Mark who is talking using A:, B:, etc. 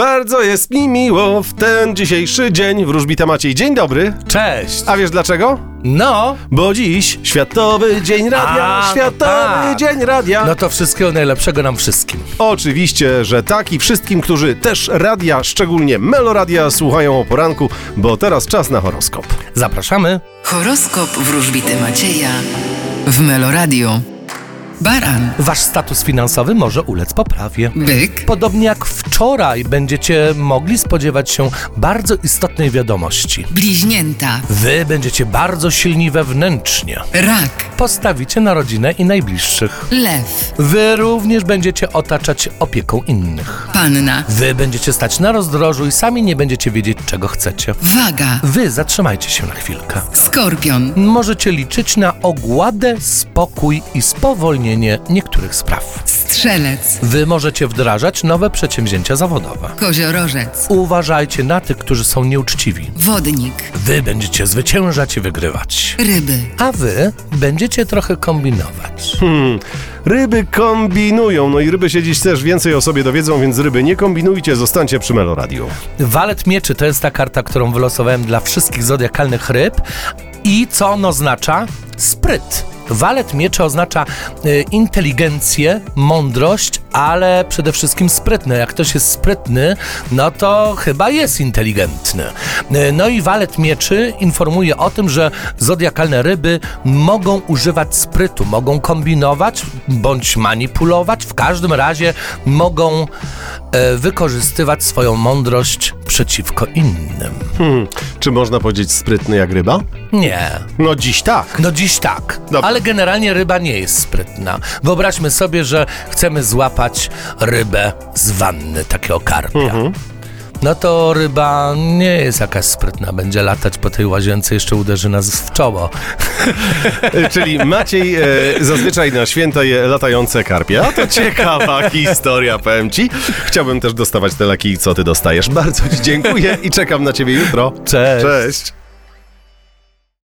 A: Bardzo jest mi miło w ten dzisiejszy dzień. Wróżbita Maciej, dzień dobry.
B: Cześć!
A: A wiesz dlaczego?
B: No,
A: Bo dziś Światowy Dzień Radia,
B: A, no
A: Światowy
B: tak.
A: Dzień Radia.
B: no to wszystkiego najlepszego nam wszystkim.
A: Oczywiście, że tak i wszystkim, którzy też radia, szczególnie Meloradia, słuchają o poranku, bo teraz czas na horoskop.
B: Zapraszamy.
C: Horoskop wróżbity Macieja w Meloradio. Baran,
B: Wasz status finansowy może ulec poprawie.
C: byk,
B: Podobnie jak wczoraj będziecie mogli spodziewać się bardzo istotnej wiadomości.
C: bliźnięta,
B: Wy będziecie bardzo silni wewnętrznie.
C: rak,
B: Postawicie na rodzinę i najbliższych.
C: lew,
B: Wy również będziecie otaczać opieką innych.
C: panna,
B: Wy będziecie stać na rozdrożu i sami nie będziecie wiedzieć, czego chcecie.
C: waga,
B: Wy zatrzymajcie się na chwilkę.
C: skorpion,
B: możecie liczyć na ogładę, spokój i spowolnienie niektórych spraw.
C: strzelec,
B: Wy możecie wdrażać nowe przedsięwzięcia zawodowe.
C: koziorożec,
B: Uważajcie na tych, którzy są nieuczciwi.
C: wodnik,
B: Wy będziecie zwyciężać i wygrywać.
C: ryby,
B: A wy będziecie trochę kombinować.
A: Ryby kombinują, no i ryby się dziś też więcej o sobie dowiedzą, więc ryby nie kombinujcie, zostańcie przy Meloradiu.
B: Walet mieczy to jest ta karta, którą wylosowałem dla wszystkich zodiakalnych ryb. I co on oznacza? Spryt. Walet mieczy oznacza y, inteligencję, mądrość, ale przede wszystkim sprytny. Jak ktoś jest sprytny, no to chyba jest inteligentny. Y, no i walet mieczy informuje o tym, że zodiakalne ryby mogą używać sprytu, mogą kombinować bądź manipulować. W każdym razie mogą e, wykorzystywać swoją mądrość przeciwko innym.
A: Hmm, czy można powiedzieć sprytny jak ryba?
B: Nie.
A: No dziś tak.
B: No dziś tak,
A: Dobra.
B: ale generalnie ryba nie jest sprytna. Wyobraźmy sobie, że chcemy złapać rybę z wanny, takiego karpia. No to ryba nie jest jakaś sprytna, będzie latać po tej łazience, jeszcze uderzy nas w czoło.
A: Y, Czyli Maciej e, zazwyczaj na święta je latające karpie. A to ciekawa historia, powiem ci. Chciałbym też dostawać te leki, co ty dostajesz. Bardzo ci dziękuję i czekam na ciebie jutro.
B: Cześć.
A: Cześć.